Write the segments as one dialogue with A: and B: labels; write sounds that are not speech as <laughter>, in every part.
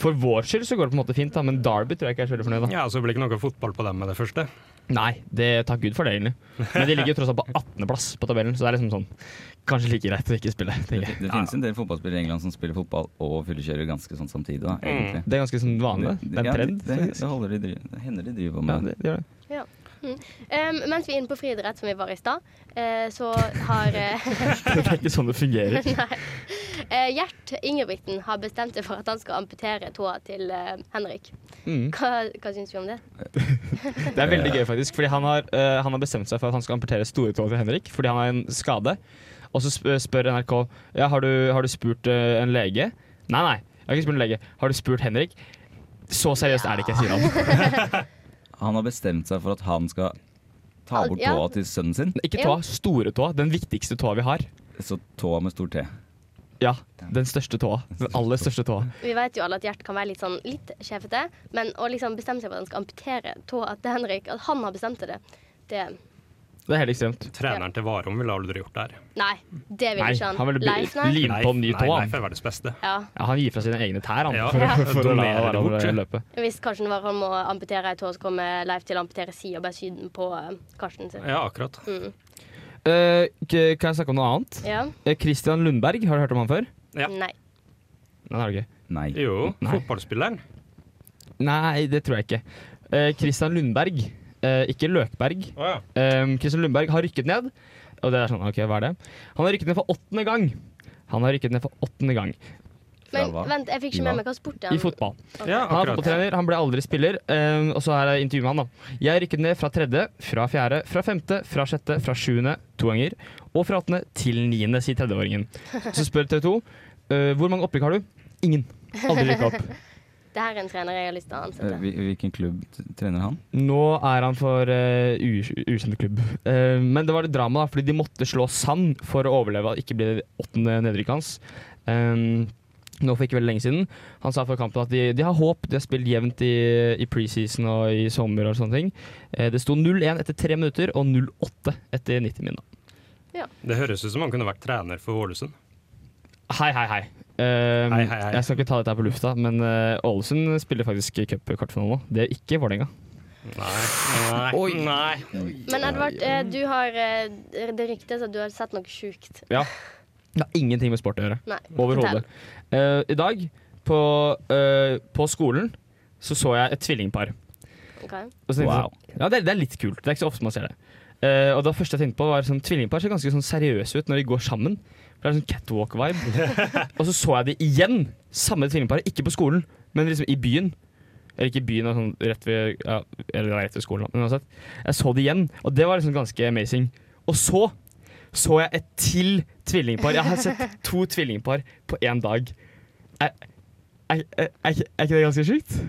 A: for vår skyld så går det på en måte fint, da, men Derby tror jeg ikke er så veldig fornøyd. da.
B: Ja, så blir det ikke noe fotball på dem med det første.
A: Nei, det, takk Gud for det, egentlig. Men de ligger jo tross alt på 18.-plass på tabellen, så det er liksom sånn Kanskje like greit å ikke spille, tenker jeg.
C: Det finnes en del fotballspillere i England som spiller fotball og fyllekjører ganske sånn samtidig, da, egentlig.
A: Det er ganske sånn vanlig. Det Mm. er
C: Ja,
A: en trend.
C: det, det, holder de driv, det hender de driver på
A: Ja,
C: med det.
A: det, det gjør det.
D: Um, mens vi er inne på friidrett, som vi var i stad, eh, så har eh,
A: <laughs> det er ikke sånn det fungerer.
D: eh, Gjert Ingebrigtsen har bestemt seg for at han skal amputere tåa til eh, Henrik.
A: Mm.
D: Hva, hva syns vi om det?
A: Det er veldig gøy, faktisk. Fordi han har, eh, han har bestemt seg for at han skal amputere stortåa til Henrik fordi han har en skade. Og så sp- spør NRK Ja, har du, har du spurt eh, en lege. Nei, nei, jeg har ikke spurt en lege. Har du spurt Henrik? Så seriøst er det ikke, sier han.
C: Han har bestemt seg for at han skal ta bort
D: Ja.
C: tåa til sønnen sin.
A: Ikke
D: Ja.
A: tåa, store tåa. Den viktigste tåa vi har.
C: Så tåa med stor T.
A: Ja, den største tåa. Den aller største tåa.
D: Vi vet jo alle at Gjert kan være litt sånn litt sjefete, men å liksom bestemme seg for at han skal amputere tåa til Henrik, at han har bestemt seg det, det
A: Det er helt ekstremt.
B: Treneren til Varom ville aldri gjort det her.
D: Nei, det vil
A: Nei,
D: ikke han.
A: han ville bli-
D: Leif, nei?
A: Lim på en ny tå,
B: Nei, nei,
A: han.
B: for verdens beste.
D: Ja.
A: Ja, han gir fra sine egne tær, han.
B: Ja,
A: For,
B: ja.
A: å- for å la
B: Donerer det bort,
A: hverandre
B: ja.
A: løpe.
D: Hvis Karsten Warholm må amputere ei tå, så kommer Leif til å amputere si og bare sy den på eh, Karsten sin.
B: Ja, akkurat.
A: Mm. Eh, k- kan jeg snakke om noe annet?
D: Ja?
A: Eh, Christian Lundberg, har du hørt om han før?
B: Ja.
D: Nei.
A: Nei, det har du ikke.
C: Nei.
B: Jo,
A: Nei.
B: fotballspilleren.
A: Nei, det tror jeg ikke. eh, Christian Lundberg, eh, ikke Løkberg.
B: Å ja.
A: Eh, Christian Lundberg har rykket ned. Og det er sånn, ok, hva er det? Han har rykket ned for åttende gang. Han har rykket ned for åttende gang
C: Fra
D: Men
C: hva?
D: vent, jeg fikk ikke med meg hva sport det
A: i
D: er.
A: fotball.
B: ja,
A: Han er
B: akkurat.
A: fotballtrener, han ble aldri spiller. eh, og så her er intervjuet med han, da. Jeg rykket ned fra tredje, fra fjerde, fra femte, fra sjette, fra sjuende to ganger. Og fra åttende til niende, sier tredjeåringen. Så spør TV 2 hvor mange opprykk har du. Ingen. Aldri rykka opp.
D: Det her er en trener jeg har lyst til å
C: Eh,
D: ansette.
C: hvil- Hvilken klubb t- trener han?
A: Nå er han for uh, ukjent klubb. Eh, men det var litt drama, da, fordi de måtte slå sand for å overleve og ikke bli det åttende nedrykket hans. Eh, nå for ikke veldig lenge siden. Han sa før kampen at de, de har håp, de har spilt jevnt i, i preseason og i sommer. og sånne ting. Eh, det sto 0-1 etter tre minutter og 0-8 etter 90 min. da.
B: Det høres ut som han kunne vært trener for Ålesund.
A: Hei, hei, hei. Eh,
B: Hei, hei, hei.
A: Jeg skal ikke ta dette her på lufta, men eh, Ålesund spiller faktisk cupkvartfinale nå. Det gjør ikke Vålerenga.
B: Nei. Nei. Nei.
D: Men Edvard, eh, du har eh, det ryktes at du har sett noe sjukt.
A: Ja. Det har ingenting med sport å gjøre.
D: Nei.
A: Overhodet.
D: fortell.
A: Eh, I dag, på, eh, på skolen, så så jeg et tvillingpar.
D: Ok.
A: Og så tenkte jeg sånn, ja, det, er- det er litt kult. Det er ikke så ofte man ser det. Eh, og det første jeg tenkte på, var sånn tvillingpar ser ganske sånn seriøse ut når de går sammen. For det er sånn catwalk-vibe. og så så jeg de igjen. Samme tvillingparet. Ikke på skolen, men liksom i byen. Eller ikke i byen, men sånn rett ved, ja, eller det er rett ved skolen. da, Men uansett. Jeg så det igjen, og det var liksom ganske amazing. Og så så jeg et til tvillingpar. Jeg har sett to tvillingpar på én dag. Er, er, er, er, ikke- er ikke det ganske sjukt?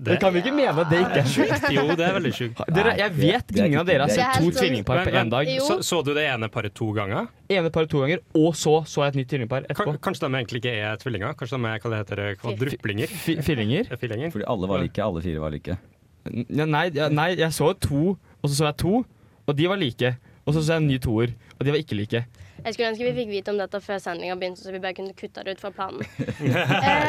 A: Det,
B: Det,
A: kan vi ikke mene at det ikke er sjukt.
B: jo, det er veldig
A: <laughs>
B: sjukt.
A: Dere,
C: Nei,
A: jeg
C: det-
A: vet
C: det er
A: ingen
C: ikke-
A: av dere har
C: det
D: er
A: sett
D: ikke-
A: to
D: Det er
A: tvillingpar på
B: Men-
A: én dag.
D: Jo.
B: Så, så du det ene paret to ganger?
A: Ene par to ganger, og så så jeg et nytt tvillingpar etterpå.
B: Kan- Kanskje de egentlig ikke er tvillinger? Kanskje de er hva det heter, eh, kvadruplinger?
A: Fi- Fillinger?
B: Eh, Fillinger?
C: Fordi alle var like, alle fire var like.
A: Ja, nei, ja, nei, jeg så to, og så så jeg to, og de var like. Og så så jeg en ny toer, og de var ikke like.
D: Jeg skulle ønske vi fikk vite om dette før sendinga begynte, så vi bare kunne kutta det ut fra planen.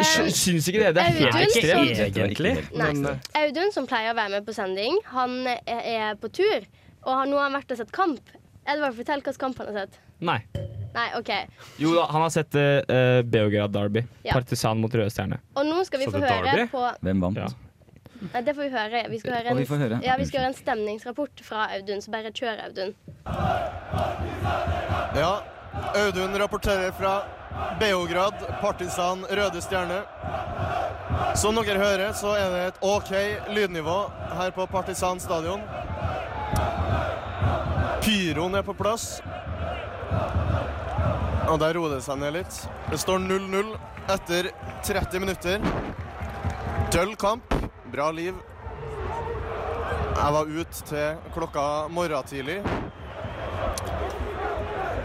A: Sy-
D: Eh,
A: Syns ikke dere det er helt
D: Audun som-
A: ekstremt?
C: sånn-
B: Egentlig.
D: Nei.
B: Men, eh,
D: Audun, som pleier å være med på sending, han er- er på tur, og han, nå har han vært og sett kamp. Edvard, fortell hvilken kamp han har sett.
A: Nei.
D: Nei, OK.
A: Jo da, han har sett eh, eh, Beograd Derby.
D: Ja.
A: Partisan mot Røde Stjerne.
D: Og nå skal vi
B: Så
D: få
B: det er
D: høre
B: derby?
D: på
C: Hvem vant?
A: Ja.
D: Nei, det får vi høre. Vi skal høre
C: Og
D: en,
C: vi får høre.
D: Ja, vi skal høre en stemningsrapport fra Audun, så bare kjør, Audun.
E: Ja, Audun rapporterer fra Beograd, Partisan Røde Stjerne. Som dere hører, så er det et OK lydnivå her på Partisan stadion. Pyroen er på plass. Og der roer det seg ned litt. Det står 0-0 etter 30 minutter. Døll kamp, bra liv. Jeg var ute til klokka morgen tidlig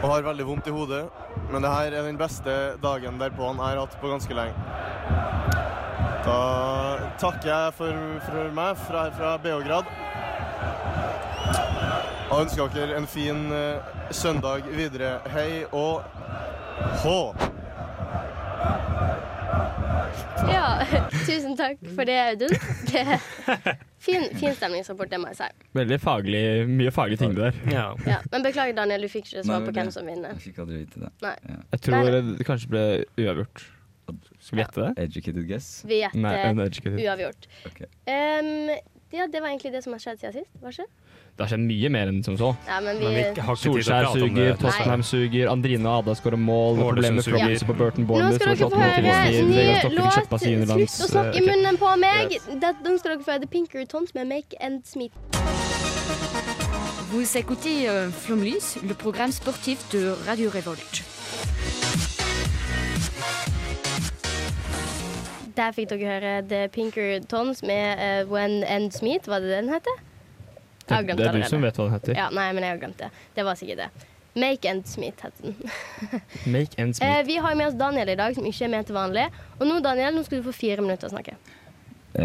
E: og har veldig vondt i hodet. Men det her er den beste dagen derpå han har hatt på ganske lenge. Da takker jeg for, for meg fra, fra Beograd. Og ønsker dere en fin eh, søndag videre. Hei og hå!
D: Ja, tusen takk for det, Audun. Det, fin, fin stemningsrapport, det må jeg si.
A: Veldig faglig, mye faglig ting det der.
B: ja.
D: Ja. Men beklager, Daniel, du fikk ikke
C: Nei,
D: svar
C: men
D: på
C: det-
D: hvem som vinner.
C: Jeg fikk aldri vite det.
A: Jeg tror det kanskje ble uavgjort. Skal vi gjette det?
C: Educated guess?
D: Vi
A: Nei,
D: gjetter
A: uneducated.
D: uavgjort.
C: Ok.
D: Ehm, ja, det var egentlig det som har skjedd siden sist. Var det ikke?
A: Det har skjedd mye mer enn som så.
D: Ja, men vi,
B: Men vi ikke- har ikke tid til å
A: Solskjær
B: prate om
A: suger,
B: det.
A: eh, Tottenham suger, Andrine og Ada skårer mål.
B: Ålesund
A: Problemer
B: suger.
A: fra Brise på Burton
D: Nå
A: Bournemouth.
D: skal dere få høre ny låt. Slutt å snakke i munnen på meg! Det, nå skal dere få høre The Pinker Tons med Make and Smith.
F: Vous écoutez euh, Flomlys, le programme sportif de Radio Révolte.
D: Der fikk dere høre The Pinker Tons med eh, When Ends Meet. Var det den heter? Jeg har glemt
A: Det er du
D: allerede.
A: som vet hva den heter.
D: Ja, nei, men jeg har glemt det. Det var sikkert det. Make Ends Meet het den.
A: Make ends meet.
D: Eh, vi har med oss Daniel i dag, som ikke er med til vanlig. Og nå, Daniel, nå skal du få fire minutter å snakke.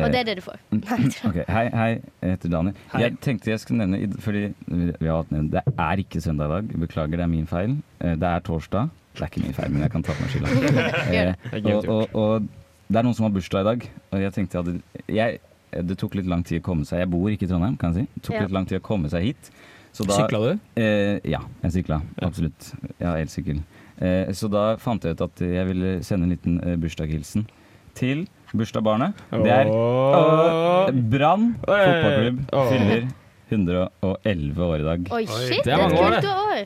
D: Og det er det du får.
C: Eh,
A: Mm. <laughs>
C: Ok, Hei, hei. Jeg heter Daniel.
B: Hei.
C: Jeg tenkte jeg skulle nevne i- Fordi vi har hatt nevnt, det er ikke søndag i dag. Beklager, det er min feil. Eh, Det er torsdag. Det er ikke min feil, men jeg kan ta på
D: <laughs>
C: meg skylda.
A: Det
C: Eh,
A: er
C: og,
A: gøy
C: og, og det er noen som har bursdag i dag, og jeg tenkte jeg hadde jeg, Det tok litt lang tid å komme seg Jeg bor ikke i Trondheim, kan jeg si. Det tok
D: Ja.
C: litt lang tid å komme seg hit. Så da-
A: Sykla du?
C: Eh, ja, jeg sykla. Absolutt. Jeg har elsykkel. Eh, så da fant jeg ut at jeg ville sende en liten eh, bursdagshilsen til Bursdagsbarnet. Det er Åh, Brann fotballklubb.
A: Åh.
C: Fyller 111 år i dag.
D: Oi, shit,
A: Det
D: det
A: er
D: er et
A: mange år, det.
D: kult år.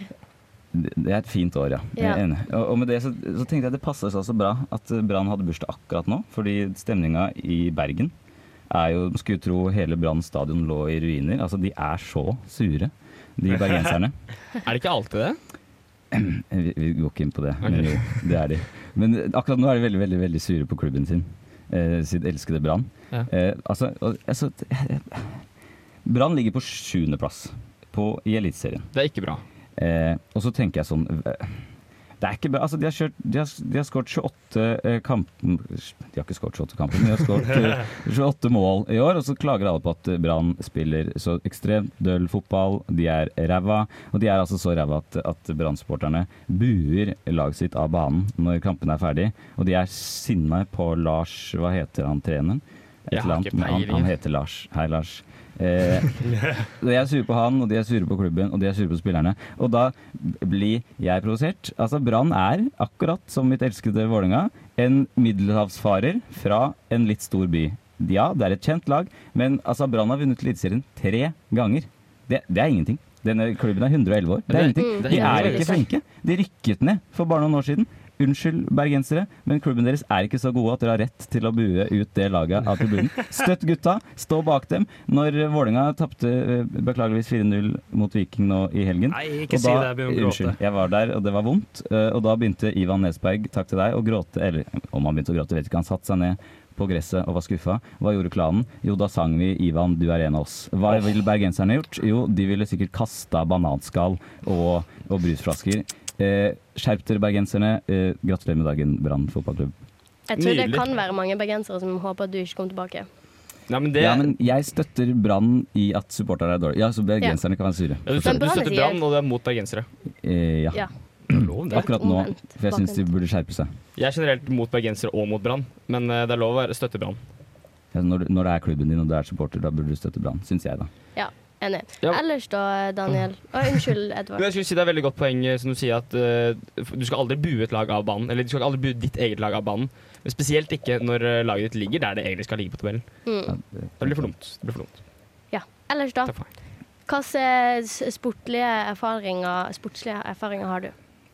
C: Det det er et fint år, ja. Jeg
D: Ja.
C: er enig. Og, og med det så, så tenkte jeg det passer seg så bra at eh, Brann hadde bursdag akkurat nå. Fordi stemninga i Bergen er jo Man skulle tro hele Brann stadion lå i ruiner. Altså, de er så sure, de bergenserne.
A: Er det ikke alltid det?
C: Vi, vi går ikke inn på det, men jo, det er de. Men akkurat nå er de veldig, veldig, veldig sure på klubben sin. Eh, sitt elskede Brann.
A: Ja.
C: Eh, altså, og- altså eh, Brann ligger på sjuendeplass på- i Eliteserien.
A: Det er ikke bra.
C: Eh, og så tenker jeg sånn eh, Det er ikke bra. Altså, de har, kjørt, de har, de har skåret 28 eh, kampen De har ikke skåret 28 kamper, men de har skåret
A: <laughs>
C: eh, 28 mål i år. Og så klager alle på at eh, Brann spiller så ekstremt døll fotball. De er ræva. Og de er altså så ræva at, at Brann-supporterne buer laget sitt av banen når kampen er ferdig. Og de er sinna på Lars Hva heter han treneren? Et
A: Jeg har
C: eller annet,
A: ikke
C: men han,
A: peiling.
C: han heter Lars. Hei, Lars. Eh, de er sure på han, og de er sure på klubben, og de er sure på spillerne. Og da blir jeg provosert. Altså, Brann er, akkurat som mitt elskede Vålerenga, en middelhavsfarer fra en litt stor by. Ja, det er et kjent lag, men altså, Brann har vunnet Eliteserien tre ganger. Det, det er ingenting. Denne klubben er 111 år. Det er ingenting.
A: det er
C: De er
A: ingenting.
C: ikke flinke. De rykket ned for bare noen år siden. Unnskyld, bergensere, men klubben deres er ikke så gode at dere har rett til å bue ut det laget av tribunen. Støtt gutta, stå bak dem. Når Vålerenga tapte eh, beklageligvis 4-0 mot Viking nå i helgen
B: Nei,
C: og
B: ikke si det, jeg begynner å gråte.
C: Unnskyld, jeg var der, og det var vondt. eh, Og da begynte Ivan Nesberg, takk til deg, å gråte. Eller om han begynte å gråte, vet ikke. Han satte seg ned på gresset og var skuffa. Hva gjorde klanen? Jo, da sang vi 'Ivan, du er en av oss'. Hva ville bergenserne gjort? Jo, de ville sikkert kasta bananskall og, og brusflasker. Eh, skjerp dere, bergenserne. Eh, gratulerer med dagen, Brann fotballklubb.
D: Jeg tror det
A: Nydelig.
D: kan være mange bergensere som håper at du ikke kommer tilbake.
A: Nei, men det
C: Ja, men jeg støtter Brann i at supportere er dårlige. Ja, så bergenserne kan være sure.
A: Ja, du,
D: Men
A: støtter, du
D: Brann
A: støtter
D: sier-
A: Brann, og det er mot <clears throat> bergensere.
C: Eh, ja,
D: Ja.
C: akkurat nå.
D: Omvendt,
C: For jeg syns de
D: bakvendt.
C: burde skjerpe seg.
A: Jeg er generelt mot bergensere og mot Brann, men eh, det er lov å være støtte Brann.
C: Ja, når, når det er klubben din og du er supporter, da burde du støtte Brann, syns jeg, da.
D: Ja, enig.
A: Ja.
D: Ellers da, Daniel Å, Unnskyld,
A: Men
D: Edvard.
A: jeg skulle si Det er veldig godt poeng eh, som du sier at eh, du skal aldri bue et lag av banen. Eller du skal aldri bue ditt eget lag av banen. Men spesielt ikke når eh, laget ditt ligger der det egentlig skal ligge på tabellen.
C: Ja,
A: Det blir for dumt. Det blir for dumt.
D: Mm. Ja. Ellers da,
A: Takk for meg.
D: hvilke sportlige erfaringer, sportslige erfaringer har du?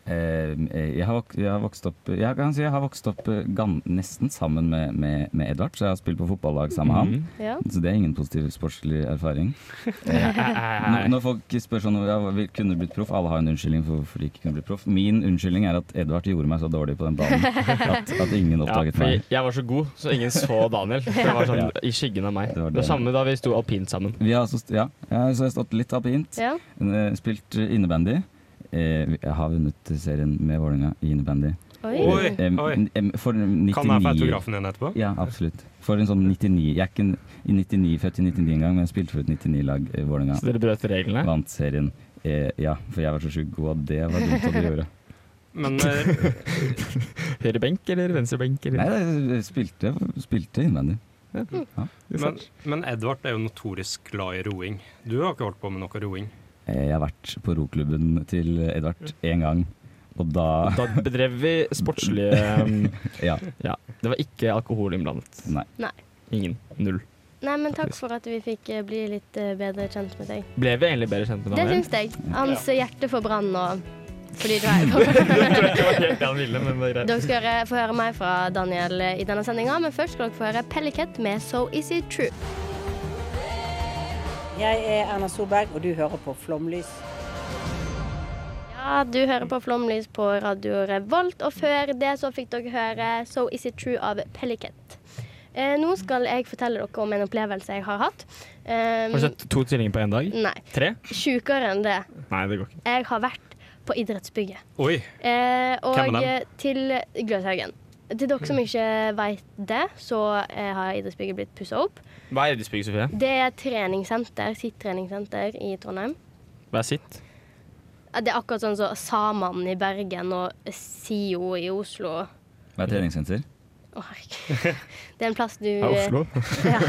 C: Eh, jeg, har, vok- jeg har vokst opp Jeg kan si jeg har vokst opp eh, gan, nesten sammen med, med, med Edvard, så jeg har spilt på fotballag sammen med
B: Mhm.
C: han.
D: Ja.
C: Så det er ingen positiv sportslig erfaring. Når, når folk spør sånn ja, hva- vi kunne blitt proff, alle har en unnskyldning for hvorfor de ikke kunne blitt proff. Min unnskyldning er at Edvard gjorde meg så dårlig på den
B: <laughs>
C: banen at, at ingen
A: Ja,
C: oppdaget
A: fordi
C: meg.
A: jeg var så god, så ingen så
C: <laughs>
A: Daniel. For jeg var sånn
C: Ja.
A: i skyggen av meg.
C: Det var
A: Det,
C: det.
A: samme da vi sto alpint sammen.
C: Vi har altså, st- ja, ja, så jeg har stått litt alpint.
D: ja.
C: Eh, Spilt eh, innebandy. Eh, vi- Jeg har vunnet serien med Vålerenga i innebandy.
D: Oi.
B: Oi,
C: Em,
B: oi.
C: em, For
B: Kan jeg få
C: 99
B: autografen din etterpå?
C: Ja, absolutt. For en sånn 99 Jeg er ikke en, i 99, født i 99 engang, men jeg spilte for et 99-lag i Vålerenga.
A: Så dere brøt reglene.
C: Vant serien. Eh, ja, for jeg var så sjukt god at det var dumt at de gjorde.
B: Men eh,
A: Høyre benk eller venstre benk?
C: Nei,
A: Eller?
C: jeg spilte, spilte innvendig.
B: Men, men Edvard er jo notorisk glad i roing. Du har ikke holdt på med noe roing.
C: Eh, jeg har vært på roklubben til Edvard én gang, og da
A: Da bedrev vi sportslige um,
C: <laughs> Ja.
A: Ja. Det var ikke alkohol innblandet.
C: Nei.
D: Nei.
A: Ingen. Null.
D: Nei, men takk for at vi fikk eh, bli litt eh, bedre kjent med deg.
A: Ble vi egentlig bedre kjent med
D: Det
A: Daniel?
D: syns jeg. Hans hjerte får brann nå. Fordi
A: <laughs>
D: du er her. <laughs> Dere skal høre, få høre meg fra Daniel eh, i denne sendinga, men først skal dere få høre Pellicat med So Is It True.
G: Jeg er Erna Solberg, og du hører på Flomlys.
D: Ja, du hører på Flomlys på Radio Revolt, og før det så fikk dere høre So Is It True av Pellicat. Eh, nå skal jeg fortelle dere om en opplevelse jeg har hatt. Eh,
A: Har du sett to tvillinger på én dag?
D: Nei,
A: Tre?
D: sjukere enn det.
A: Nei, det går ikke.
D: Jeg har vært på idrettsbygget.
B: Oi,
D: Eh,
B: Hvem
D: og
B: er dem?
D: eh, til Gløshaugen. Til dere som ikke vet det, så eh, har idrettsbygget blitt pussa opp.
A: Hva er idrettsbygg, Sofie?
D: Det er treningssenter, sitt treningssenter i Trondheim.
A: Hva er sitt?
D: Eh, Det er akkurat sånn som Saman i Bergen og SIO i Oslo.
C: Hva er treningssenter?
D: Å,
B: <laughs>
D: herregud. Det er en plass du
A: Det er Oslo.
D: <laughs> Ja.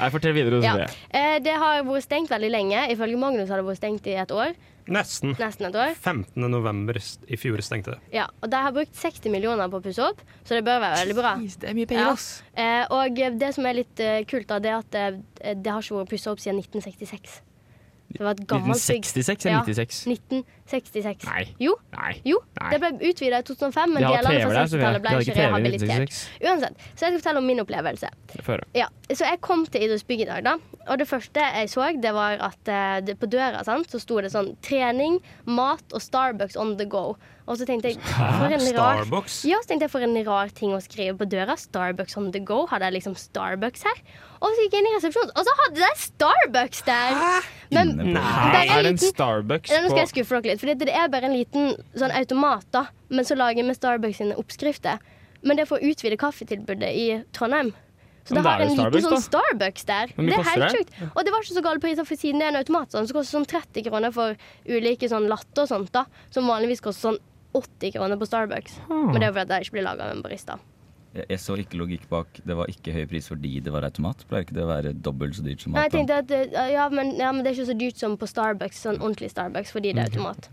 A: Nei, fortell videre, du,
D: Ja.
A: Sofie.
D: Eh, Det har vært stengt veldig lenge. Ifølge Magnus har det vært stengt i et år.
B: Nesten.
D: Nesten et år.
B: 15. november st- i fjor stengte det.
D: Ja, og De har brukt 60 millioner på å pusse opp, så det bør være veldig bra.
H: det er mye penger, ass.
D: Eh, og det som er litt eh, kult, da, det er at eh, det har ikke vært pussa opp siden 1966. Det var et gammelt bygg.
A: 1966 eller 96?
D: Ja, 1966.
A: Nei.
D: Jo.
A: Nei.
D: Jo,
A: Nei.
D: det ble utvida i 2005, men
A: De har
D: delene
A: TV
D: fra
A: der, så vi-
D: 60-tallet
A: de
D: ble
A: hadde
D: ikke
A: ikke TV i
D: rehabilitert.
A: 1966.
D: Uansett, så jeg skal fortelle om min opplevelse.
A: Få høre.
D: Ja, så jeg kom til Idretts bygg i dag, da. Og det første jeg så, det var at eh, det, på døra sant, så sto det sånn trening, mat og Starbucks on the go. Og så
A: <laughs>
D: tenkte jeg for en rar,
B: Starbucks?
D: Ja, så tenkte jeg for en rar ting å skrive på døra. Starbucks on the go. Hadde jeg liksom Starbucks her? Og så gikk jeg inn i resepsjonen, og så hadde de Starbucks der! Men
A: Nei,
D: bare
A: er det en
D: liten-
A: Starbucks
D: ja, Nå skal
A: på
D: jeg skuffe dere litt, for det er bare en liten sånn automat, da. Men så lager jeg med Starbucks sine oppskrifter. Men det er for å utvide kaffetilbudet i Trondheim. Så det
A: Men da er
D: har
A: det
D: en liten
A: Starbucks, da.
D: sånn Starbucks der.
A: Hvor mye
D: Det er helt
A: koster det?
D: sjukt. Og det var ikke så gale priser, for siden det er en automat, sånn, så koster det sånn 30 kroner for ulike sånn latte og sånt, da. Som vanligvis koster sånn 80 kroner på Starbucks. Men det er fordi det ikke blir laga av en barista.
C: Jeg, jeg så ikke logikk bak. Det var ikke høy pris fordi det var automat. Pleier ikke det å være dobbelt så dyrt som
D: Nei, jeg
C: automat?
D: tenkte at eh, ja men, ja, men det er ikke så dyrt som på Starbucks, sånn ordentlig Starbucks, fordi det er automat.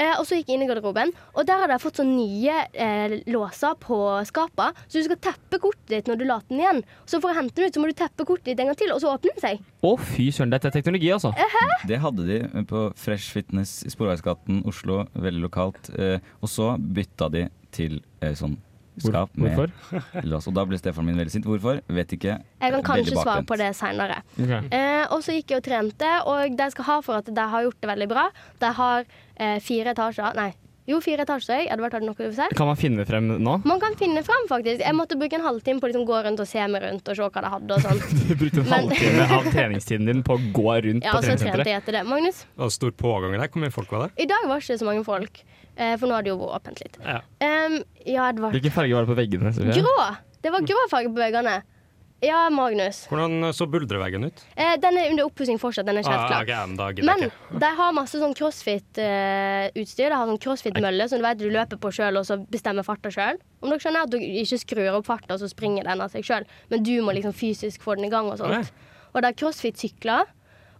D: Eh, og så gikk jeg inn i garderoben, og der hadde jeg fått sånne nye eh, låser på skapet. Så du skal teppe kortet ditt når du later den igjen. Så for å hente den ut, så må du teppe kortet ditt en gang til, og så åpner den seg.
A: Å, fy søren, dette er teknologi, altså.
C: Det hadde de på Fresh Fitness i Sporveisgaten, Oslo. Veldig lokalt. Eh, og så bytta de til eh, sånn
A: Hvor-
C: skap
A: hvorfor?
C: med lås. Og da ble Stefan min veldig sint. Hvorfor? Vet ikke.
D: Jeg kan
C: Eh, veldig
D: kanskje svare
C: bakvendt.
D: på det seinere.
C: Ok.
D: Eh, og så gikk jeg og trente, og de skal ha for at de har gjort det veldig bra. De har eh, fire etasjer Nei, jo, fire etasjer. Edvard, har du noe du vil si?
A: Kan man finne frem nå? <laughs>
D: Man kan finne fram, faktisk. Jeg måtte bruke en halvtime på å liksom gå rundt og se meg rundt og se hva det hadde. og sånn.
A: Du brukte en
D: Men-
A: halvtime av treningstiden din på å gå rundt
D: Ja, altså,
A: på
D: og så trente jeg
A: treningssenteret.
D: etter det. Magnus,
B: Det var stor pågang der. Hvor mye folk var der?
D: i dag var det ikke så mange folk, eh, for nå har det jo vært åpent litt.
B: Ja.
D: Em, ja, Edvard.
A: Hvilken farge var det på veggene? Sofie?
D: Grå! Det var grå farge på veggene. Ja, Magnus.
B: Hvordan så buldreveggen ut?
D: Eh, den er under oppussing fortsatt. Den er ikke helt
B: Ah,
D: klar.
B: ok, men da gidder jeg
D: Men de har masse sånn crossfit-utstyr. de har sånn crossfit-mølle som du vet du løper på sjøl, og så bestemmer farta sjøl. Om dere skjønner at du ikke skrur opp farta, så springer den av seg sjøl, men du må liksom fysisk få den i gang og sånt. Og de har crossfit-sykler,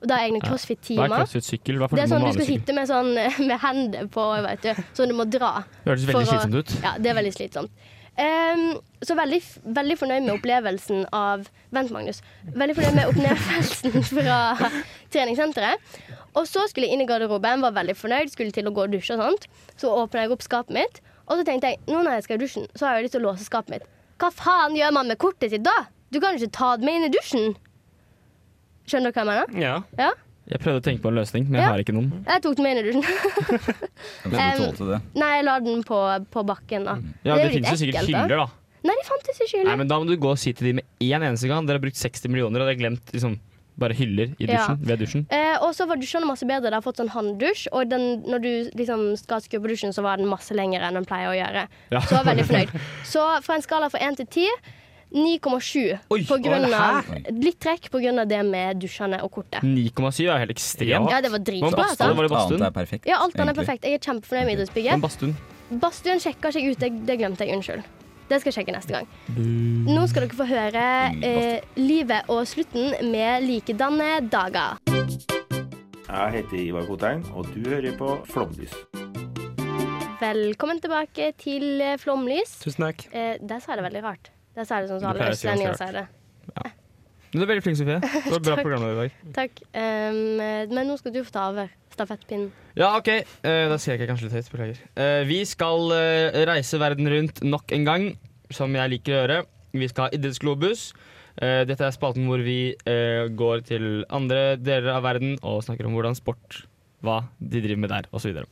D: og de har egne
A: Ja. Hva er
D: crossfit-timer.
A: crossfit-sykkel? Hva er
D: Det er
A: forskjellen
D: sånn
A: på
D: du skal
A: vanlig sykkel?
D: sitte med, sånn, <laughs> med hendene på, vet du, sånn du må dra.
A: Det hørtes
D: for
A: veldig
D: å-
A: slitsomt ut.
D: Ja, det er veldig slitsomt. Ehm, så veldig, f- veldig fornøyd med opplevelsen av Vent, Magnus. Veldig fornøyd med opplevelsen <laughs> fra treningssenteret. Og så skulle jeg inn i garderoben, var veldig fornøyd, skulle til å gå og dusje og sånt. Så åpna jeg opp skapet mitt, og så tenkte jeg nå når jeg skal i dusjen, så har jeg lyst til å låse skapet mitt. Hva faen gjør man med kortet sitt da? Du kan jo ikke ta det med inn i dusjen. Skjønner dere hva jeg mener?
B: Ja.
D: Ja?
A: Jeg prøvde å tenke på en løsning, men jeg
D: Ja.
A: har ikke noen.
D: Jeg tok det med inn i dusjen.
C: Men du
D: Em,
C: tålte det.
D: Nei, jeg la den på, på bakken, da.
A: Mm. Ja,
D: er jo
A: Det
D: litt
A: finnes jo sikkert
D: ekkelt, da.
A: hyller, da.
D: Nei, det fantes ikke
A: Nei,
D: hyller.
A: men Da må du gå og si til de med én eneste gang dere har brukt 60 millioner og dere har glemt liksom, bare hyller i
D: Ja.
A: dusjen, ved dusjen.
D: Eh, og så var dusjene masse bedre. De har fått sånn hånddusj. Og den, når du liksom skal skru på dusjen, så var den masse lengre enn den pleier å gjøre.
A: Ja.
D: Så jeg var veldig fornøyd.
A: <laughs>
D: Så fra en skala fra 1 til 10 9,7 på grunn
A: oi,
D: av
A: hæ?
D: litt trekk pga. det med dusjene og kortet.
A: 9,7 er jo helt ekstremt.
D: Ja, det var dritbra,
A: Men badstue,
D: altså.
A: var det badstuen?
C: Alt annet er perfekt,
D: Ja, alt annet er perfekt. Jeg er kjempefornøyd med
A: Men
D: idrettsbygget.
A: badstuen
D: Badstuen sjekka ikke ut, det, det glemte jeg. Unnskyld. Det skal jeg sjekke neste gang. Nå skal dere få høre
A: Mm,
D: eh, livet og slutten med likedanne dager.
I: Jeg heter Ivar Kotein, og du hører på Flomlys.
D: Velkommen tilbake til eh, Flomlys.
B: Tusen takk.
D: Eh, der sa jeg det veldig rart. Der sa jeg det sånn som
A: Du
D: alle
A: pleier å si ganske
D: østlendinger
A: rart.
D: sier det.
A: Du er veldig flink, Sofie. Du var bra
D: <laughs> Takk.
A: programleder i dag.
D: Takk. Um, eh, men nå skal du få ta over stafettpinnen.
A: Ja, OK. Eh, da skrek jeg kanskje litt høyt. Beklager. Eh, vi skal eh, reise verden rundt nok en gang, som jeg liker å gjøre. Vi skal ha idrettsglobus. Eh, dette er spalten hvor vi eh, går til andre deler av verden og snakker om hvordan sport, hva de driver med der, osv. Så, videre.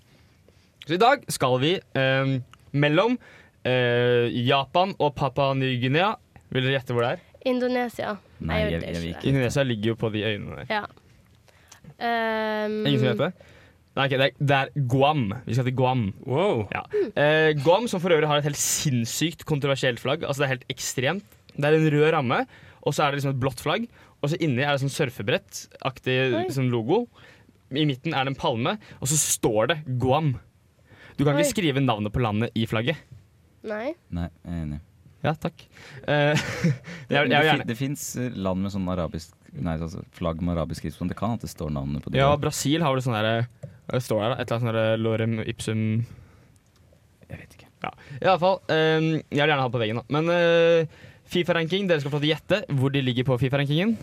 A: så i dag skal vi eh, mellom eh, Japan og Papua Ny-Guinea. Vil dere gjette hvor det er?
D: Indonesia. gjorde ikke.
A: Indonesia ligger jo på de øyene der.
D: det. Ja. Um,
A: Ingen som vet det? Nei, ok, det, er, det er Guam. Vi skal til Guam. Ja. Eh, Guam, som for øvrig har et helt sinnssykt kontroversielt flagg. Altså Det er helt ekstremt. Det er en rød ramme, og så er det liksom et blått flagg. Og så inni er det sånn surfebrettaktig
J: Oi.
A: liksom logo. I midten er det en palme, og så står det Guam. Du kan
D: Oi.
A: ikke skrive navnet på landet i flagget.
D: Nei.
C: Nei, jeg er enig.
A: Ja, takk. Eh, <laughs> jeg, jeg,
C: det
A: vil
C: fin-
A: gjerne.
C: det fins land med sånn arabisk Nei, altså flagg med arabisk skrift. sånn. Det kan at det står navnet på det.
A: Ja, Brasil har vel sånn derre Det står der, da. Et eller annet sånn derre lorem ipsum
C: Jeg vet
A: ikke. Ja, Iallfall. Um, jeg vil gjerne ha det på veggen, da. Men eh, Fifa-ranking, dere skal få lov til å gjette hvor de ligger på Fifa-rankingen.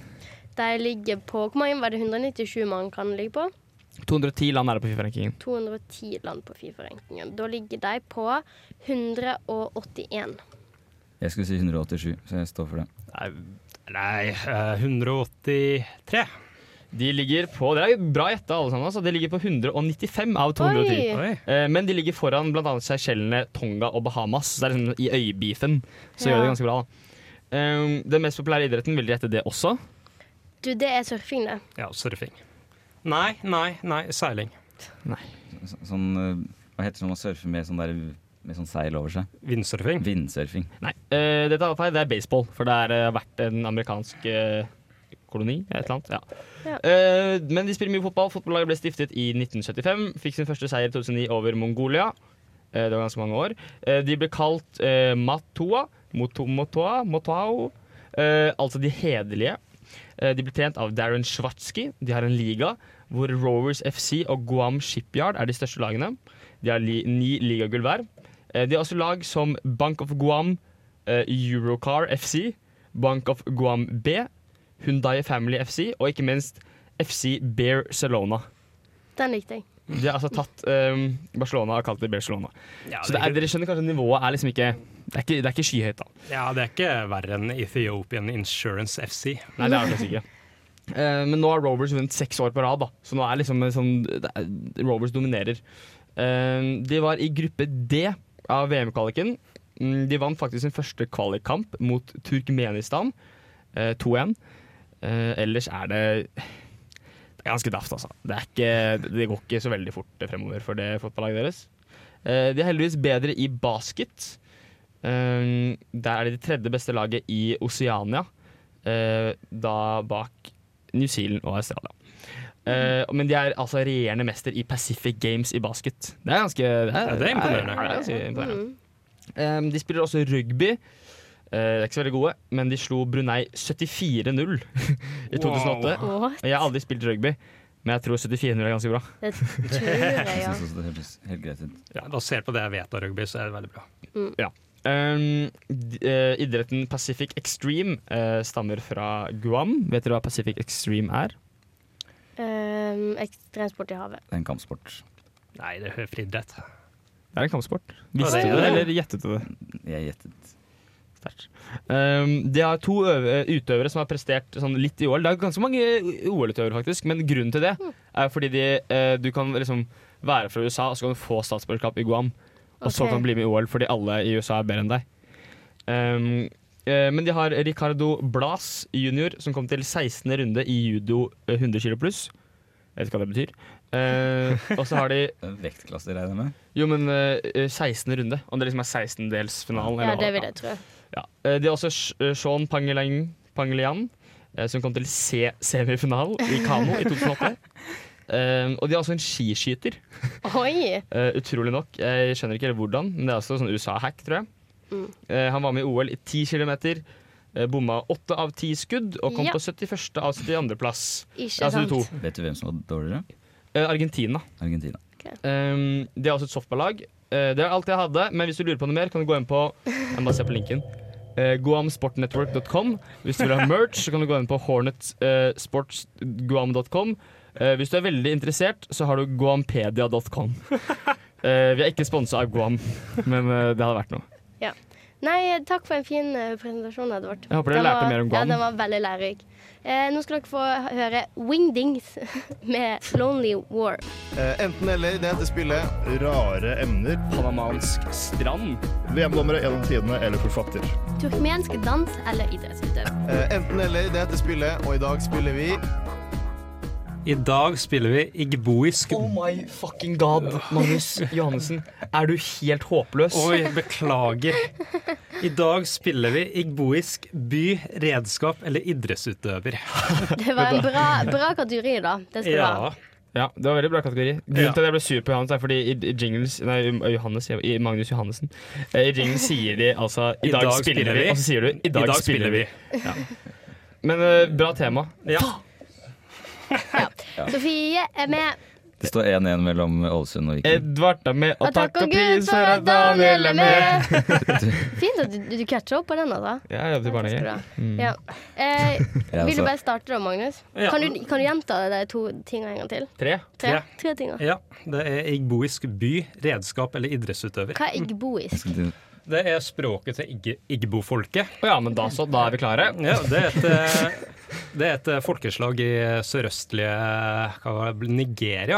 D: De ligger på Hvor mange var det 197 man kan ligge på?
A: 210 land er det på Fifa-rankingen.
D: 210 land på FIFA-rankingen. Da ligger de på 181.
C: Jeg skulle si 187, så jeg står for det.
B: Nei, nei eh, 183.
A: De ligger på Det er bra gjetta, alle sammen. Altså. De ligger på 195 av 210.
B: Oi.
A: Eh, men de ligger foran bl.a. Seychellene, Tonga og Bahamas. Så det er liksom I øyebeefen så
D: Ja.
A: gjør de det ganske bra. da. Um, den mest populære idretten, vil de gjette det også?
D: Du, det er surfing, det.
B: Ja, surfing. Nei, nei, nei. Seiling.
C: Så, sånn eh, Hva heter det når man surfer med sånn, der, med sånn seil over seg?
B: Vindsurfing?
C: Vindsurfing.
A: Nei. eh, dette er feil. Det er baseball, for det har vært en amerikansk eh, koloni. Et eller annet. Ja. Eh, men de spiller mye fotball. Fotballaget ble stiftet i 1975. Fikk sin første seier i 2009 over Mongolia. Eh, det var ganske mange år. Eh, de ble kalt eh, Matua, Moto, Motoa, Motao. Eh, altså de hederlige. Eh, de ble trent av Darren Schwatzky. De har en liga hvor Rovers FC og Guam Shipyard er de største lagene. De har li ni ligagull hver. Eh, de har også lag som Bank of Guam, eh, Eurocar FC, Bank of Guam B, Hyundai Family FC og ikke minst FC Barcelona.
D: Den likte jeg.
A: De har altså tatt eh, Barcelona og kalt det Barcelona.
B: Ja,
A: Så
B: det
A: det
B: er
A: er, dere skjønner kanskje nivået er liksom ikke Det er ikke, det er ikke skyhøyt, da.
B: Ja, det er ikke verre enn Ethiopian Insurance FC.
A: Nei, det er det faktisk ikke. Eh, men nå har Rovers vunnet seks år på rad, da. så nå er liksom en sånn, det er, Rovers dominerer. Eh, de var i gruppe D av VM-kvaliken. Mm, De vant faktisk sin første kvalikkamp mot Turkmenistan, eh, 2-1. Eh, ellers er det Det er ganske daft, altså. Det, er ikke, det går ikke så veldig fort fremover for det fotballaget deres. Eh, de er heldigvis bedre i basket. Eh, der er de det tredje beste laget i Oseania eh, da bak New Zealand og Australia. Eh, men de er altså regjerende mester i Pacific Games i basket. Det er ganske det
B: Ja, Mm. det er imponerende.
A: det er ganske imponerende. Eh, de spiller også rugby. Eh, de er ikke så veldig gode, men de slo Brunei 74-0 i 2008.
D: Wow.
A: <laughs>
D: What?
A: Jeg har aldri spilt rugby, men jeg tror 74-0 er ganske bra.
D: Det tror jeg, ja.
C: også det høres helt greit ut.
B: Ja, Basert på det jeg vet av rugby, så er det veldig bra.
A: Ja. Um, d- eh, idretten Pacific Extreme eh, stammer fra Guam. Vet dere hva Pacific Extreme er?
D: Um, ekstremsport i havet.
C: Det er en kampsport.
B: Nei, det er friidrett.
A: Det er en kampsport.
B: Ja,
A: Visste
B: det er
A: du det,
B: det.
A: eller gjettet du det?
C: Jeg gjettet.
A: Sterkt. Um, de har to øve- utøvere som har prestert sånn litt i OL. Det er ganske mange OL-utøvere, faktisk, men grunnen til
B: Mm.
A: det er fordi de, eh, du kan liksom være fra USA, og så kan du få statsborgerskap i Guam. Og så
D: Ok.
A: kan du bli med i OL fordi alle i USA er bedre enn deg. Um, eh, men de har Ricardo Blas jr., som kom til 16. runde i judo eh, 100 kg pluss. Jeg vet ikke hva det betyr. Eh, og så har de
C: Vektklasse, regner jeg med.
A: jo, men eh, eh, 16. runde. Om det liksom er 16-delsfinalen.
D: Ja,
A: eller-
D: det vil jeg tro.
A: ja. Eh, Det er også Sh- eh, Sean Pangeliang, Pangelian, eh, som kom til C-semifinalen i kano
D: <laughs>
A: i 2008. Eh, og de har også en skiskyter,
D: Oi!
A: eh, utrolig nok. Jeg skjønner ikke helt hvordan, men det er også sånn USA-hack, tror jeg.
D: Mm.
A: Eh, han var med i OL i 10 km, eh, bomma 8 av 10 skudd og kom
D: Ja.
A: på 71. av 72. plass.
D: Ikke
A: Ja, så de to.
D: sant.
C: Vet du hvem som var dårligere?
A: Eh, Argentina.
C: Argentina.
A: Um, det er også et softballag. Eh, det er alt jeg hadde, men hvis du lurer på noe mer, kan du gå inn på Jeg må se på linken. Eh, guamsportnetwork.com. Hvis du vil <laughs> ha merch, så kan du gå inn på eh, hornetsportsguam.com. Eh, hvis du er veldig interessert, så har du guampedia.com. Eh, vi er ikke sponsa av Guam, men eh, det hadde vært noe.
D: Ja. Nei, takk for en fin eh, presentasjon, Edvard.
A: Jeg håper dere
D: Den
A: lærte
D: var-
A: mer om Guam.
D: Ja, den var veldig lærerik. Eh, nå skal dere få høre Wingdings <laughs> med 'Lonely War'.
H: Eh, enten eller, det heter spillet. Rare emner.
A: Panamansk strand.
H: VM-dommere gjennom tidene eller forfatter.
D: Turkmensk dans eller idrettsutøver.
E: Eh, enten eller, det heter spillet, og i dag spiller vi
B: I dag spiller vi igboisk
A: Oh my fucking god, Magnus Johannessen. Er du helt håpløs?
B: Oi, beklager. I dag spiller vi igboisk by, redskap eller idrettsutøver.
A: <laughs>
D: Det var en bra, bra kategori, da. Det skal du ha.
B: Ja.
A: Ja, det var veldig bra kategori.
J: Ja.
A: Grunnen til at jeg ble sur på Johannes, er fordi i, i jingles Nei, i- Johannes, jeg- i Magnus Johannessen. Eh, I <laughs> jingles sier de altså 'I, dag, spiller, vi', og så sier du 'I dag, spiller vi'. Ja. Men eh, bra tema.
D: Sofie er med.
K: Det står 1-1 mellom Ålesund og Viking.
A: Edvard er med,
D: Og takk og Gud for at Daniel er med! <laughs> Fint at du, du catcher opp på den, altså.
A: Jeg jobbet i barnehage.
D: Takk Ja. <laughs> Eh, vil
A: Ja, altså.
D: du bare starte da, Magnus?
B: Mm. Ja.
D: Kan, du, kan du gjenta det de to tingene en gang til?
B: Tre.
D: Tre, Tre tinga.
B: Ja. Det er igboisk by, redskap eller idrettsutøver.
D: Hva er igboisk?
B: Det er språket til igge- igbo-folket.
A: ja, men da så. Da er vi klare.
B: Ja, det er et, eh, det er et eh, folkeslag i sørøstlige hva var det, Nigeria.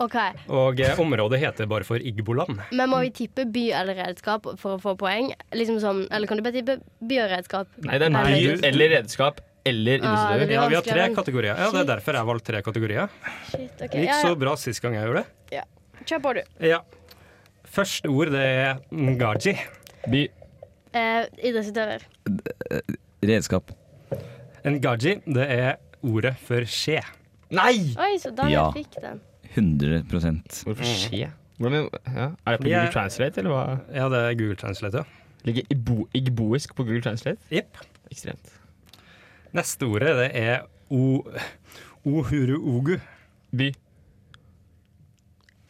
D: OK.
B: Og eh, området heter bare for Igboland.
D: Men må vi tippe by eller redskap for å få poeng? Liksom sånn, eller kan du bare tippe by og redskap?
A: Nei, det er by eller redskap
D: Ah,
A: eller
D: det
A: idrettsutøver.
D: blir
B: Ja, vi har tre
D: vanskelig, men-
B: kategorier. Ja, Det er derfor jeg valgte tre kategorier.
D: Shit, ok.
B: Det gikk
D: Ja,
B: så
D: ja.
B: bra sist gang jeg gjorde det.
D: ja. Kjør på, du.
B: Ja. Første ord det er ngaji.
A: By.
D: Eh, idrettsutøver.
K: Redskap.
B: Ngaji det er ordet for skje.
A: Nei!
D: Oi, så Daniel
K: Ja.
D: fikk den.
K: 100
A: Hvorfor
D: Mm.
A: skje? Hvordan, ja. Er det på
B: Fordi jeg-
A: Google Translate, eller hva?
B: Ja, det er Google Translate, ja.
A: Ligger igbo igboisk på Google Translate?
B: Jepp.
A: Ekstremt.
B: Neste ordet det er o ohuruogu.
A: By.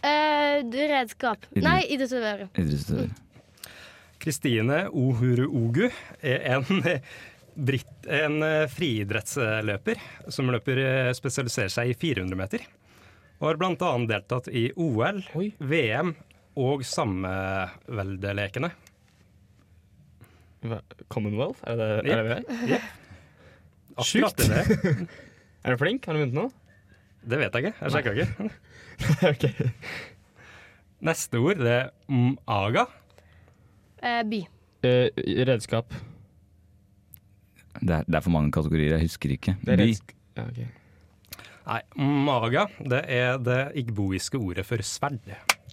D: Eh, du, redskap.
B: Idrett-
D: Nei, idrettsutøver.
K: Idrettsutøver.
B: Kristine Ohuruogu er en, <laughs> britt, en eh, friidrettsløper som løper eh, spesialiserer seg i 400 meter. Og har bl.a. deltatt i OL, VM og samveldelekene.
A: Hva- Commonwealth? Er det er det
B: Jepp.
A: vi er?
B: Jepp. Akkurat
A: Sjukt.
B: det det er.
A: er du flink? Har du vunnet noe?
B: Det vet jeg ikke. Jeg sjekka ikke. <laughs>
A: Ok.
B: Neste ord det er maga.
D: Eh, by.
A: Eh, redskap.
K: Det er, det er for mange kategorier, jeg husker ikke. By.
A: Ja, ok.
B: Nei, maga det er det igboiske ordet for sverd.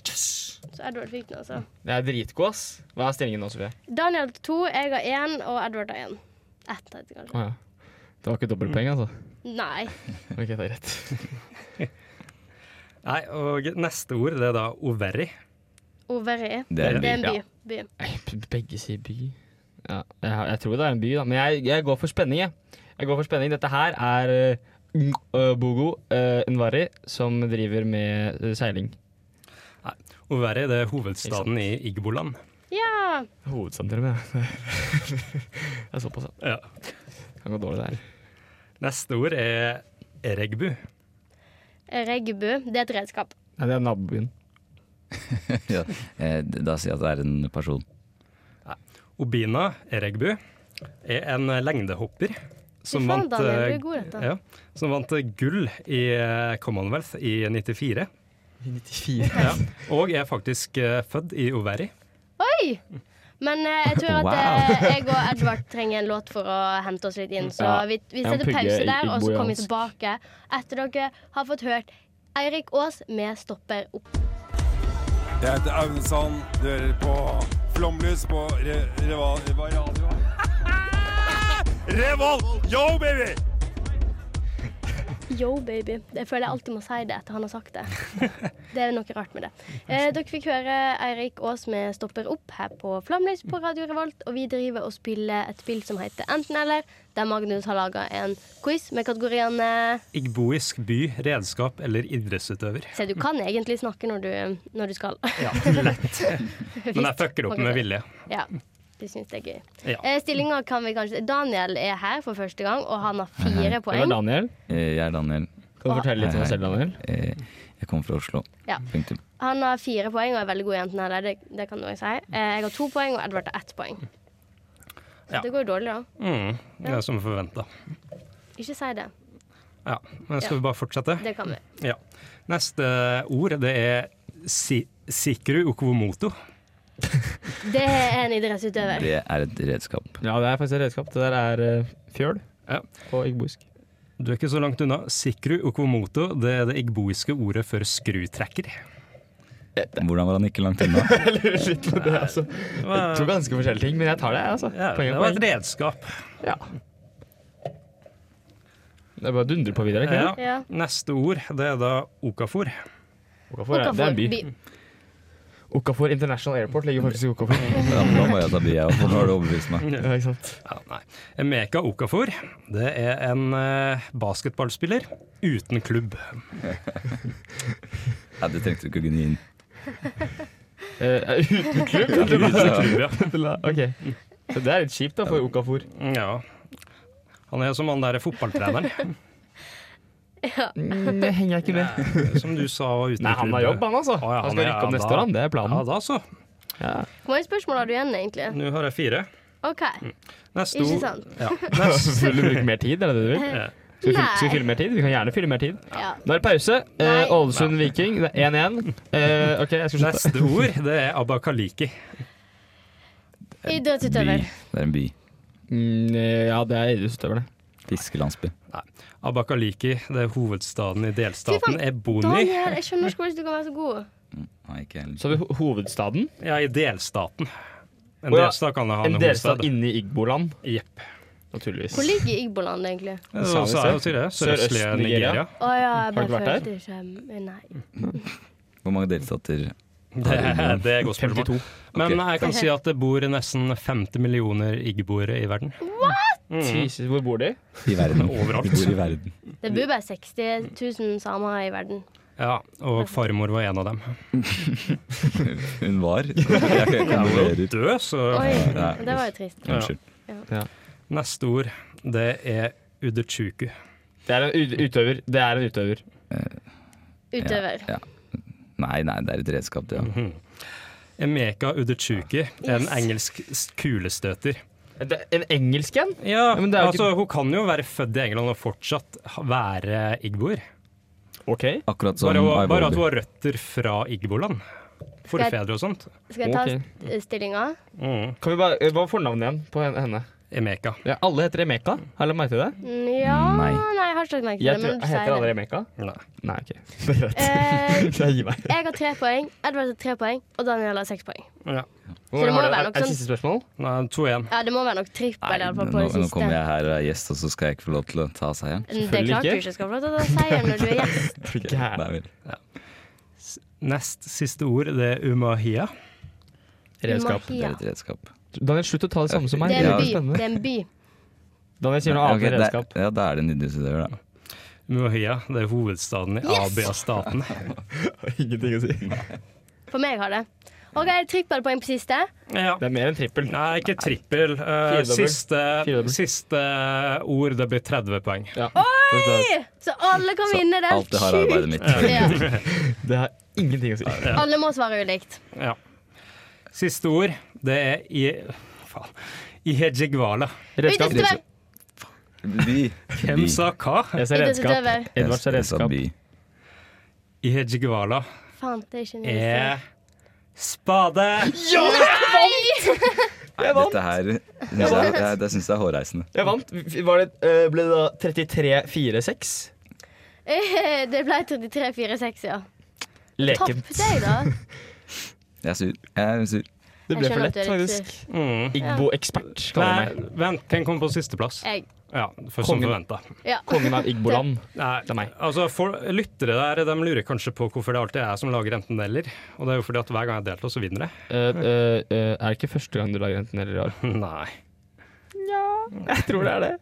D: Så Edward fikk den, altså.
A: Jeg er dritgod, ass. Hva er stillingen nå, Sofie?
D: Daniel har to, jeg har én, og Edward har én. Ett, heter det
A: Å
D: kanskje.
A: ja. Det var ikke dobbeltpoeng, altså?
D: Nei.
A: <laughs> OK, det er <laughs> rett.
B: Nei, og neste ord det er da overi.
D: Overi.
A: Det er en
D: det er en
A: by,
D: by.
A: ja.
D: by.
A: P- Begge sier by. Ja, jeg, har- jeg tror det er en by, da. Men jeg, jeg går for spenning, jeg. Jeg går for spenning. Dette her er eh, Ng- eh, Bogo eh, Nvari, som driver med eh, seiling.
B: Overi det er hovedstaden i Igboland.
D: Ja!
A: Hovedstaden, til og med. <laughs> Det er såpass,
B: ja.
A: Kan gå dårlig der.
B: Neste ord er eregbu.
D: Reggebu. Det er et redskap.
A: Nei, det er nabobyen.
K: <laughs> ja. eh, d- Da sier jeg at det er en person.
B: Obina eregbu er en lengdehopper som
D: Fy faen,
B: vant,
D: Daniel, du er
B: eh,
D: god i dette.
B: ja, som vant eh, gull i eh, Commonwealth i 94.
A: I 94?
B: Ja, og er faktisk eh, født i Overi.
D: Oi! Men eh, jeg tror at
B: Wow.
D: eh, <laughs> jeg og Edvard trenger en låt for å hente oss litt inn. Så
B: Ja.
D: vi, vi
B: Jeg må
D: setter
B: pugge
D: pause
B: i-
D: der,
B: i
D: og så kommer vi
B: bojansk.
D: tilbake etter dere har fått hørt Eirik Aas med 'Stopper opp'.
L: Jeg heter Aune Sand. Du hører på Flomlys på re Reva- Reva radio. <laughs> Revolt! Yo, baby!
D: Yo, baby. Jeg føler jeg alltid må si det etter han har sagt det.
B: <laughs>
D: Det er noe rart med det. Eh, dere fikk høre Eirik Aas med 'Stopper opp' her på Flamlys på Radio Revolt. Og vi driver og spiller et spill som heter Enten-eller, der Magnus har laga en quiz med kategoriene
B: Igboisk by, redskap eller idrettsutøver.
D: Se, du kan egentlig snakke når du, når du skal. <laughs>
B: Ja, lett. Men jeg fucker opp med vilje.
D: Ja, du syns det er gøy.
B: Ja.
D: Eh, Stillinga kan vi kanskje Daniel er her for første gang, og han har fire poeng.
A: Daniel.
K: Eh, Jeg er Daniel. Eh,
A: Kan du fortelle litt om deg selv, Daniel?
K: Jeg kommer fra Oslo.
D: Ja.
K: Punktum.
D: Han har fire poeng og er veldig god i enten eller, det, det kan du også si. Eh, jeg har to poeng, og Edvard har ett poeng. Så
B: Ja.
D: det går jo dårlig, da.
B: Mm, det
D: Ja.
B: er som forventa.
D: Ikke si det.
B: Ja, men skal
D: Ja.
B: vi bare fortsette?
D: Det kan vi.
B: Ja. Neste ord det er si sikru okvomoto.
D: Det er en idrettsutøver.
K: Det er et redskap.
A: Ja, det er faktisk et redskap. Det der er eh, fjøl på igboisk.
B: Du er ikke så langt unna. Sikru okvomoto det er det igboiske ordet for skrutrekker.
K: Hvordan var han ikke langt unna?
A: Jeg lurer litt på <laughs> det, altså. Jeg tror ganske forskjellige ting, men jeg tar det, altså.
B: Ja, det var et redskap.
A: Ja. Det er bare å dundre på videre. ikke
B: Ja.
A: sant?
B: Neste ord, det er da okafor.
A: Okafor er- det er en by. Okafor, Okafor International Airport ligger faktisk i <laughs> Okafor.
C: Ja, men da må jeg ta bi, jeg òg, for nå har du overbevist meg.
D: <laughs>
A: Ja, ikke sant?
B: Ja, nei. Emeka Okafor, det er en eh, basketballspiller uten klubb.
C: Nei, det trengte du ikke å gni inn.
A: Eh, uten <laughs> klubb?
B: Ja, uten klubb, ja.
A: Ok. Så det er litt kjipt da, for Okafor.
B: Ja. Han er som han der
A: <laughs>
B: fotballtreneren.
D: Ja.
A: Mm, Det henger jeg ikke med.
B: Nei, Som du sa, var uten
A: <laughs> Nei, han har jobb, han, altså.
B: Å, ja,
A: Han skal
B: er-
A: rykke opp
B: ja,
A: neste
B: da-
A: år, han. Det er planen.
B: Ja, da så.
D: Hvor mange spørsmål har du igjen, egentlig?
B: Nå har jeg fire.
D: OK.
B: Neste
D: Ikke
B: ord-
D: sant?
B: Ja.
A: <laughs> Vil du bruke mer tid, er det det du vil?
D: Ja.
A: Skal vi, fylle,
D: Nei.
A: skal vi fylle mer tid? Vi kan gjerne fylle mer tid.
D: Ja.
A: Nå er det pause. Eh, Ålesund-Viking, det er 1-1. Eh, ok, jeg skal slutte.
B: Neste ord, det er abakaliki.
D: Idrettsutøver.
C: Det er en by.
A: Mm, ja, det er idrettsutøverne.
C: Fiskelandsby.
B: Abakaliki, det er hovedstaden i delstaten
D: Fy
B: Eboni.
D: Daniel, jeg skjønner ikke hvordan du kan være så god.
C: Nei, ikke heller.
A: Så har vi ho- hovedstaden.
B: Ja, i delstaten. En
A: Å ja,
B: delstat kan ha en,
A: En delstat
B: hovedstad.
A: inne i Igboland.
B: Jepp.
A: Naturligvis.
D: Hvor ligger Igboland, egentlig?
B: Ja, Så sa jeg jo til deg, sørøstlige
A: Sørøst Nigeria.
B: Nigeria.
D: Å ja, jeg
C: Har du
D: bare
C: vært der?
D: følte ikke Nei.
C: Hvor mange delstater
B: Det, det er et godt spørsmål.
C: 52.
B: Men
C: Ok.
B: jeg kan si at det bor nesten 50 millioner igboere i verden.
D: What?!
A: Jesus, hvor bor de?
C: I verden.
B: Overalt.
C: De bor i verden.
D: Det bor bare 60 000 samer i verden.
B: Ja, og farmor var en av dem.
C: Hun var.
B: Jeg var jo død, så
D: Oi, det var jo trist.
B: Ja.
C: Unnskyld.
A: Ja.
B: Neste ord, det er udechuku.
A: Det er en ut- utøver. Det er en utøver.
D: Utøver.
C: Ja. Nei, nei, det er et redskap, det. Ja.
B: Emeka udechuku er en
A: Yes.
B: engelsk s- kulestøter.
A: Det er en engelsk en?
B: Ja,
A: men det er jo
B: altså, Hun kan jo være født i England og fortsatt ha- være igboer.
A: Ok.
C: Akkurat som
B: Bare, hun-
C: Ivory.
B: bare at hun har røtter fra igboland. Forfedre og sånt.
D: Skal jeg ta
A: Ok.
D: st- stillinga?
A: Kan vi bare, eh, Hva var fornavnet igjen på hen- henne?
B: Emeka.
A: Ja, alle heter Emeka. Har du lagt merke til det?
D: Mm, Ja
A: Nei.
D: Nei, jeg har ikke lagt merke
A: Jeg
D: til det,
A: tror,
D: men du
A: heter
D: sier
A: alle
D: det.
A: Emeka?
B: Nei.
A: Nei, ok. <laughs> Det er greit.
D: Eh,
A: Jeg gir meg.
D: Jeg har tre poeng, Edvard har tre poeng, og Daniel har seks poeng.
B: Ja.
D: Så det må være nok
A: Er det
D: sånn-
A: siste spørsmål?
B: Nei, 2-1.
D: Ja, det må være nok trippel, i alle fall, på
C: Nå,
D: det
C: nå
D: siste.
C: kommer jeg her og er gjest, og så skal jeg ikke få lov til å ta seieren?
D: Det er klart du ikke skal få lov til å ta seieren når du er gjest.
C: Nei vel.
B: Nest siste ord, det er umahia.
A: <laughs> Redskap.
C: Det
D: Ja.
C: er et redskap.
A: Daniel, slutt å ta det samme som meg.
D: Det er
A: Det
D: en
A: er
D: by.
A: spennende.
D: Det er en by.
A: Daniel sier noe
C: Ja,
A: annet
C: ok,
A: enn
C: det-
A: redskap.
C: Ja, da er det en idrettsutøver, da.
B: Muahia, det er hovedstaden i
D: Yes!
B: Abia-staten.
A: Ingenting å si.
D: For meg har det. OK, trippelpoeng på siste.
B: Ja.
A: Det er mer enn trippel.
B: Nei, ikke trippel. Eh,
A: Firedobbel.
B: siste, siste ord, det blir 30 poeng.
D: Oi! Så alle kan vinne den.
B: alt det her er arbeidet mitt.
D: Ja.
A: Det har ingenting å si.
D: Alle må svare ulikt.
B: Ja. Siste ord, det er i Faen. Ihejigwala.
D: Redskap. Idrettsutøver.
C: By.
B: Hvem sa hva?
A: Jeg ser redskap.
D: Idrettsutøver.
A: Edvard ser
C: Jeg sa
A: redskap.
C: by.
B: Ihejigwala
D: Faen, det er ikke en
B: er spade.
D: Nei!
C: Nei, dette her synes jeg, jeg, det syns jeg er hårreisende.
A: Jeg vant. Var det, eh, ble det da 33-4-6?
D: <laughs> Det ble 33-4-6, ja. Topp
C: Lekent.
D: deg, da.
C: Jeg er sur. Jeg er sur.
A: Det
D: Jeg
A: ble for
D: skjønner at
A: lett,
D: du er litt
A: faktisk. Igbo-ekspert, kaller
B: Nei,
A: jeg meg.
B: vent, hvem kom på sisteplass?
D: Jeg.
B: Ja, for som
A: Kongen.
B: forventa.
D: Ja.
A: Kongen av Igboland.
B: Nei,
A: Det er meg.
B: altså for, Lyttere der de lurer kanskje på hvorfor det alltid er jeg som lager enten eller. Og det er jo fordi at hver gang jeg deltar, så vinner jeg. <laughs>
A: Eh, eh, eh, er det ikke første gang du lager enten eller rar?
B: Nei.
A: <laughs> Jeg tror det er det.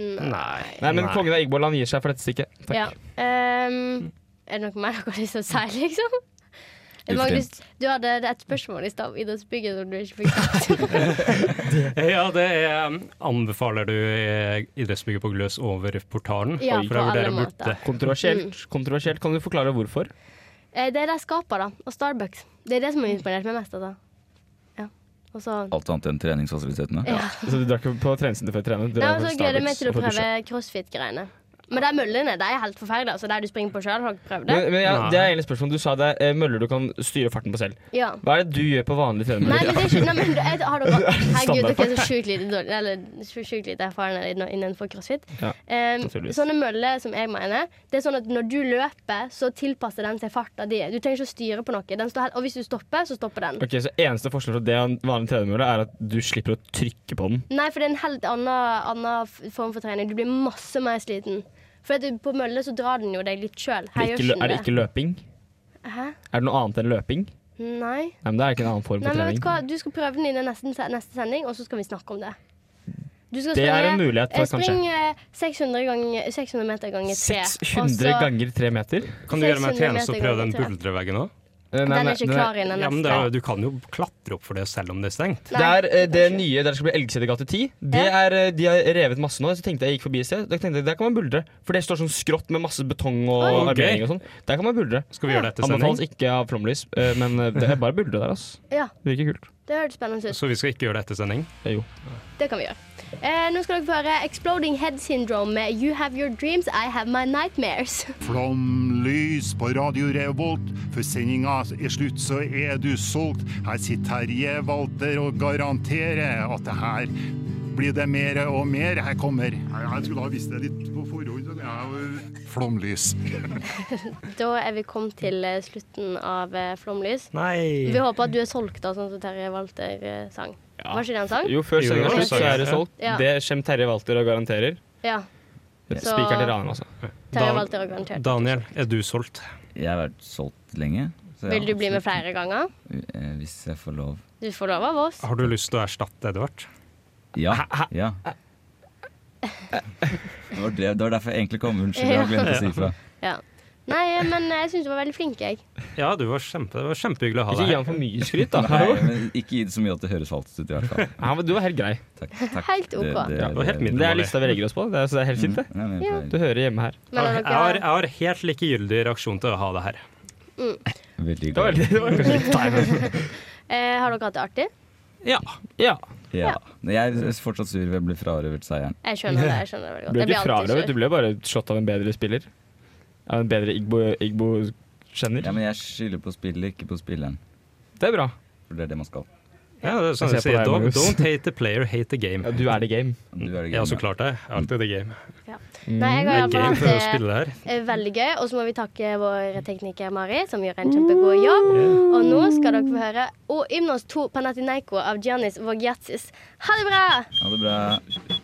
B: Nei.
A: Nei, men kongen av Igboland gir seg for dette stikket. Takk.
D: Ja. ehm, er det noe mer dere har lyst til å si, liksom?
A: Ufortjent.
D: Magnus, du hadde et spørsmål i stad om idrettsbygget som du ikke fikk sagt.
A: <laughs>
B: Ja, det er um, Anbefaler du eh, idrettsbygget på Gløs over portalen?
D: Ja,
B: For
D: på
B: jeg vurderer
D: alle
B: bort
D: måter.
B: det.
A: Kontroversielt.
D: Mm.
A: Kontroversielt. Kan du forklare hvorfor?
D: Eh, Det er det jeg skaper, da. Og Starbucks. Det er det som har imponert meg mest. Altså. Ja. Og så
C: Alt annet enn treningsfasilitetene.
D: Ja.
A: Så du drar Altså, ikke på treningssenter for å trene?
D: Nei,
A: Du drar
D: og
A: på
D: så gleder jeg meg
A: Starbucks
D: til å
A: og får dusje.
D: prøve crossfit-greiene. Men de møllene de er helt forferdelige. Altså, der du springer på sjøl, har dere prøvd det?
A: Men, men ja, det er egentlig spørsmålet. Du sa det er møller du kan styre farten på selv.
D: Ja.
A: Hva er det du gjør på vanlig
D: Nei, men det er ikke
A: trening?
D: nei, men, jeg, har
A: <laughs>
D: dere, Herregud, dere er
A: Standardfart.
D: så sjukt lite dårlige Eller så sjukt lite erfarne inno- innenfor crossfit.
A: Ja,
D: Em,
A: naturligvis.
D: Ehm, sånne møller som jeg mener, det er sånn at når du løper, så tilpasser den seg farta di. Du trenger ikke å styre på noe. Den står helt, og hvis du stopper, så stopper den.
A: <laughs> Ok, Så eneste forskjell fra det og en vanlig tredemølle er at du slipper å trykke på den.
D: Nei, for det er en helt annen, annen f- form for trening. Du blir masse mer sliten. For at du, på mølle så drar den jo deg litt sjøl.
A: Er det, ikke, lø- er det ikke løping?
D: Hæ?
A: Er det noe annet enn løping?
D: Nei.
A: Nei, men Det er ikke en annen form
D: Nei,
A: for
D: men vet
A: trening.
D: du hva? Du skal prøve den i den neste, neste sending, og så skal vi snakke om det. Du skal
A: Det er
D: springe-
A: en mulighet for,
D: eh, Spring eh, 600, ganger, 600 meter ganger 3.
A: 600 ganger 3 meter? Eh,
B: Kan du gjøre meg en
D: 600
B: tjeneste og
D: meter
B: prøve den
D: ganger tre.
B: buldreveggen òg?
D: Den er ikke klar innen
B: Ja, men det
D: neste.
B: er, jo- du kan jo klatre opp for det selv om det er stengt.
A: Det er eh, det nye der det skal bli Elgesetergate 10. Det er, eh, de har revet masse nå. Så tenkte jeg jeg gikk forbi et sted. Da tenkte jeg, Der kan man buldre. For det står sånn skrått med masse betong og
B: Oi. Ok.
A: armering og sånn. Der kan man buldre.
B: Skal vi gjøre det etter sending?
A: Anbefales ikke av flomlys, eh, men eh, det er bare å buldre der, altså.
D: Ja,
A: Det virker kult.
D: det høres spennende ut.
B: Så vi skal ikke gjøre det etter sending?
A: Eh, Jo.
D: Det kan vi gjøre. Eh, nå skal dere få høre Exploding Head Syndrome med You Have Your Dreams, I Have My Nightmares. <laughs>
J: Flomlys på Radio Revolt. Før sendinga er slutt, så er du solgt. Her sitter Terje Walter og garanterer at det her blir det mer og mer. Her kommer Jeg skulle ha visst det litt på forhånd. Flomlys.
D: da er vi kommet til eh, slutten av eh, Flomlys.
B: Nei.
D: Vi håper at du er solgt, da, sånn som Terje Walter eh, sang. Var ikke det han sang?
A: Jo, før
B: Jo,
A: sendinga
B: det var
A: slutt, så er det
B: det.
A: solgt.
D: Ja.
A: Det kommer Terje Walter og garanterer.
D: Ja. Så-
A: Spikeren til ranen, altså.
D: Terje Walter og garantert.
B: Daniel, er du solgt?
C: Jeg har vært solgt lenge. så jeg-
D: Vil du bli med flere ganger?
C: Eh, Hvis jeg får lov.
D: Du får lov av oss.
B: Har du lyst til å erstatte Edvard?
C: Ja. ja. Det var, det, det var derfor jeg egentlig kom. Unnskyld, jeg glemte å si ifra.
D: Ja. Nei, men jeg syns du var veldig flink, jeg.
B: Ja, du var kjempe, det var kjempehyggelig å ha deg
A: Ikke gi han for mye skryt, <laughs> da.
C: Nei, men ikke gi det så mye at det høres falskt ut, i hvert fall.
A: Ja, men du var helt grei.
D: Helt OK.
A: Ja, det, var helt Mm. middelmålig. det er lista vi legger oss på. Det er, så det er helt fint, det.
C: men
D: Ja.
A: Du hører hjemme her.
D: Men har
B: Jeg
D: dere-
B: har, jeg har helt likegyldig reaksjon til å ha det her.
C: Veldig
A: Det var, veldig- <laughs> det var kanskje litt
D: Eh, har dere hatt det artig?
A: Ja. ja.
C: Ja. Nei, Jeg er fortsatt sur ved å bli frarøvet seieren.
D: Jeg skjønner det. jeg skjønner det veldig godt Jeg
A: Du ble
D: blir
A: ikke
D: alltid sur.
A: frarøvet, du ble bare slått av en bedre spiller. Av en bedre Igbo- Igbo-kjenner.
C: Ja, men jeg skylder på spillet, ikke på spilleren.
A: det er bra.
C: For det er det man skal.
B: Ja, det er sånn
A: Jeg
B: jeg
A: ser på
B: sier,
A: deg,
B: don't,
A: Magnus.
B: don't hate the player, hate the game.
A: Ja, du er the game.
C: Du er det
B: Ja,
C: game,
B: så klart det. Jeg er Alltid the game.
D: Nei, jeg har
B: Det
D: i
B: er
D: hvert
B: game
D: fall
B: for å
D: hatt
B: spille det her.
D: det eh, veldig gøy. Og så må vi takke vår tekniker Mari, som gjør en kjempegod jobb. Og nå skal dere få høre O Ymnos 2 Panatinaiko av Giannis Vogiatsis. Ha det bra!
C: Ha det bra.